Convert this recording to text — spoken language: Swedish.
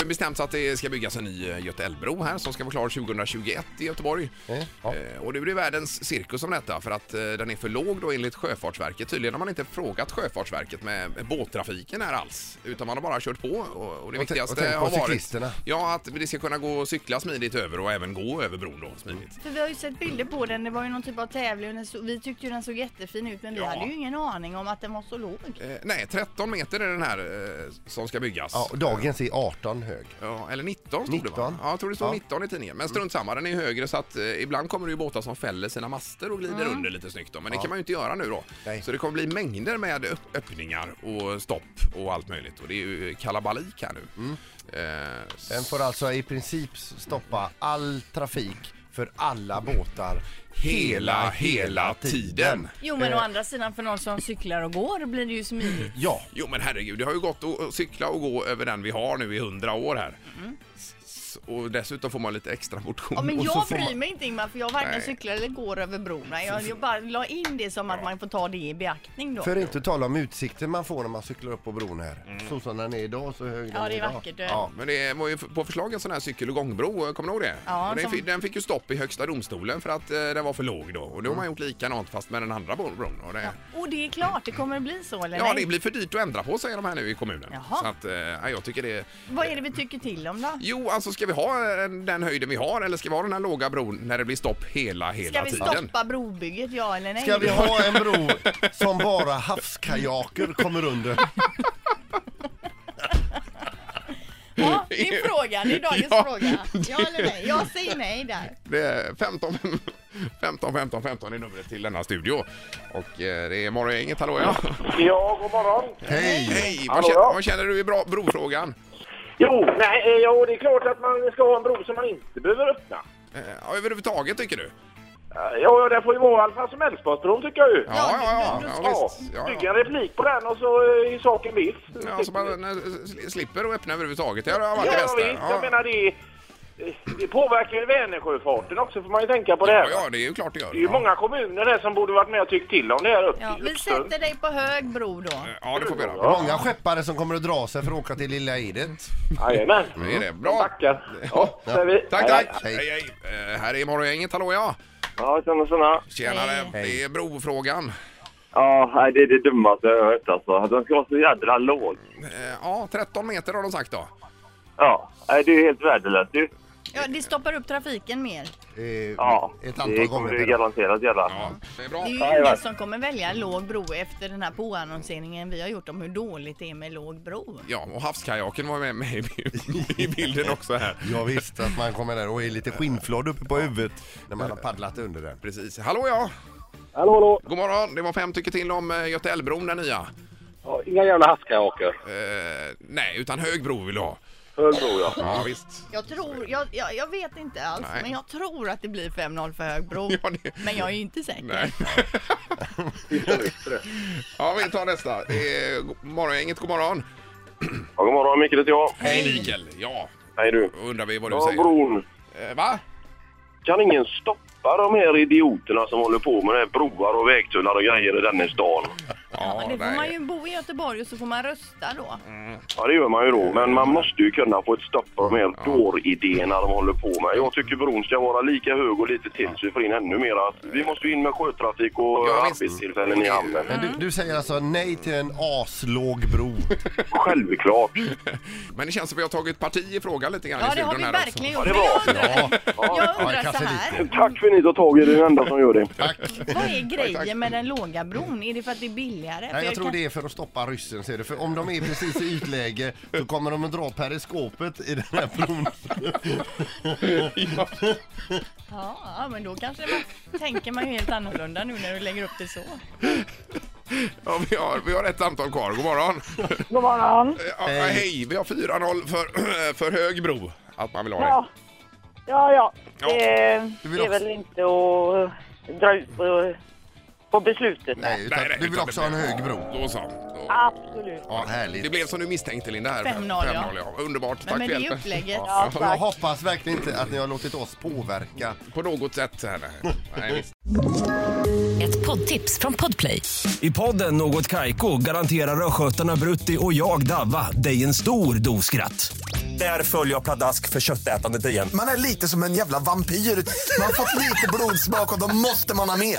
Det är bestämt att det ska byggas en ny eh, Göta älvbro här som ska vara klar 2021 i Göteborg. Mm, Eh, Och det blir världens cirkus om detta för att eh, den är för låg då enligt Sjöfartsverket. Tydligen har man inte frågat Sjöfartsverket med med båttrafiken här alls utan man har bara kört på och och det Och tä- viktigaste och tänk på har varit cyklisterna. ja, att det ska kunna gå och cykla smidigt över och även gå över bron då smidigt. För vi har ju sett bilder på den, det var ju någon typ av tävling och den så, vi tyckte ju den såg jättefin ut men vi Ja. hade ju ingen aning om att den var så låg. Eh, Nej, 13 meter är den här eh, som ska byggas. Ja, och dagens är 18 hög. Ja, eller 19 stod det va? 19. Ja, Mm. jag tror det stod Ja. 19 i tidningen. Men strunt samma, den är högre så att eh, ibland kommer det ju båtar som fäller sina master och glider Mm. under lite snyggt då. Men det kan man ju inte göra nu då. Nej. Så det kommer bli mängder med öpp- öppningar och stopp och allt möjligt. Och det är ju eh, kalabalik här nu. Eh, s- Den får alltså i princip stoppa all trafik för alla båtar hela, hela tiden. Jo men å eh. andra sidan för någon som cyklar och går blir det ju Mm. smidigt. Ja, Jo men herregud, det har ju gått att att cykla och gå över den vi har nu i 100 år här. S- s- Och dessutom får man lite extra motion. Mm. Ja, men Och så jag får man- bryr mig inte Ingmar för jag varken Nej. cyklar eller går över bron. Nej, Jag, jag bara la in det som att man får ta det i beaktning då. för att inte tala om utsikten man får när man cyklar upp på bron här. Mm. Så som den är idag så hög den Ja, det är idag. vackert, du. Ja. Men det var ju på förslag en sån här cykel och gångbro, eh, kommer du ihåg det? Ja, och den, som- fick, den fick ju stopp i Högsta domstolen för att eh, den var för låg då. Och då har Mm. man gjort likadant fast med den andra bron. bron. Och det, ja. Och det är klart, det kommer att bli så eller nej? det blir för dyrt att ändra på säger de här nu i kommunen. Jaha. Så att, eh, ja, jag tycker det... Vad är det vi tycker till om då? Jo, alltså ska vi ha eh, den höjden vi har eller ska vi ha den här låga bron när det blir stopp hela, Ska hela vi tiden? stoppa brobygget ja eller nej? Ska vi ha en bro som bara havskajaker kommer under? Ja, det är frågan, det är dagens Ja. fråga. Ja eller nej? Jag säger nej där. Det är 15, 15, 15, 15 är numret till denna studio. Och eh, det är morgongänget, hallå ja. Ja, god morgon. Hej! Hej! Vad Hallå, känner, ja. vad känner du i bra, brofrågan? Jo, nej, eh, ja, det är klart att man ska ha en bro som man inte behöver öppna. Eh, ja, överhuvudtaget tycker du? Eh, Ja, ja, den får ju vara Alfa som Älvsborgsbron tycker jag ju. Ja, ja, ja. men- ja, visst. ja, Bygga ja. en replik på den och så eh, är saken viss. Ja, så man eh, sli- slipper att öppna överhuvudtaget. Det har Ja, varit det ja, bästa. visst. Jag Ja, menar det, eh, det påverkar ju Vänersjöfarten också får man ju tänka på det här. ja, ja, det är ju klart det gör. Det är ju Ja. många kommuner där som borde varit med och tyckt till om det här upp, Ja, vi uppstund. sätter dig på hög bro då. Ja, det får vi göra. Ja. Många skeppare som kommer att dra sig för att åka till Lilla Edet. Jajamän. Det är det. Bra. Tackar. Ja, säger vi. Tack, tack. Hej. Hej, hej. Eh, här är morgongänget. Hallå, ja. Ja, tjena, tjena. Tjenare. Hej. Det är brofrågan. Ja, nej, det är det dummaste jag har hört alltså. Den ska vara så jädra låg. Eh, Ja, 13 meter har de sagt då. Ja, nej, det är ju helt värdelöst ju. Ja, det stoppar upp trafiken mer. Eh, Ja, ett det antal kommer gånger du per dag. garanterat göra. Ja, det är bra. Det är Ja, ju det ingen var- som kommer välja låg bro efter den här påannonseringen vi har gjort om hur dåligt det är med låg bro. Ja, och havskajaken var med, med i- i bilden också här. Jag visste att man kommer där och är lite skinnflådd uppe på huvudet när man har paddlat under den. Precis. Hallå, ja. Hallå, hallå! God morgon. Det var fem tycker till om eh, Göta älvbron, den nya. Ja, inga jävla havskajaker. Eh, nej, utan hög bro vill du ha. Hög bro, ja. Ja, visst. Jag tror, jag, jag, jag vet inte alls, Nej. men jag tror att det blir 5-0 för hög bro. Ja, det- Men jag är ju inte säker. Nej. ja, vi tar nästa. Det är go- morgongänget, god morgon. ja god morgon, Micke heter jag. Hej Mikael. Ja, Hej du. då undrar vi vad du Ja, säger. bron. Eh, Va? Kan ingen stoppa de här idioterna som håller på med det här broar och vägtullar och grejer i denna stan? Ja, Men det får nej. Mm. man ju bo i Göteborg och så får man rösta då. Ja, det gör man ju då. Men man måste ju kunna få ett stopp på de här dåridéerna de håller på med. Jag tycker bron ska vara lika hög och lite till så vi får in ännu mer. Vi måste ju in med sjötrafik och Ja, visst. arbetstillfällen i hamnen. Men du, du säger alltså nej till en aslåg bro? Självklart. Men det känns som vi har tagit parti i frågan lite grann Ja, i det har vi studion här verkligen också. gjort. Ja, det Men jag var- undrar, jag Ja, undrar kanske så här, Tack för att ni tar tag i det. Ni är den enda som gör det. vad är Tack, tack. grejen med den låga bron? Är det för att det är billigare? För Nej, jag tror kan- det är för att stoppa ryssen ser du. För om de är precis i ytläge så kommer de att dra periskopet i den här bron. Ja, men då kanske man tänker man ju helt annorlunda nu när du lägger upp det så. Ja, vi, har, vi har ett antal kvar. God morgon. God morgon. Eh, Ja, hej, vi har 4-0 för, för hög bro. Att man vill ha det. Ja, ja. ja. Ja. Det, Du vill det är också- väl inte att dra ut på på beslutet. Nej, utan nej, du vill utan också ha det en blev- hög bro. Då så. Då- Absolut. Ja, härligt. Det blev som du misstänkte Linda här. 5-0, ja. 5-0, Underbart, tack Men med för det hjälpen. upplägget. Ja, Jag tack. hoppas verkligen inte att ni har låtit oss påverka. På något sätt. här. Nej, visst. Ett poddtips från Podplay. I podden Något Kaiko garanterar östgötarna Brutti och jag, Davva, dig en stor dos skratt. Där följer jag pladask för köttätandet igen. Man är lite som en jävla vampyr. Man har fått lite blodsmak och då måste man ha mer.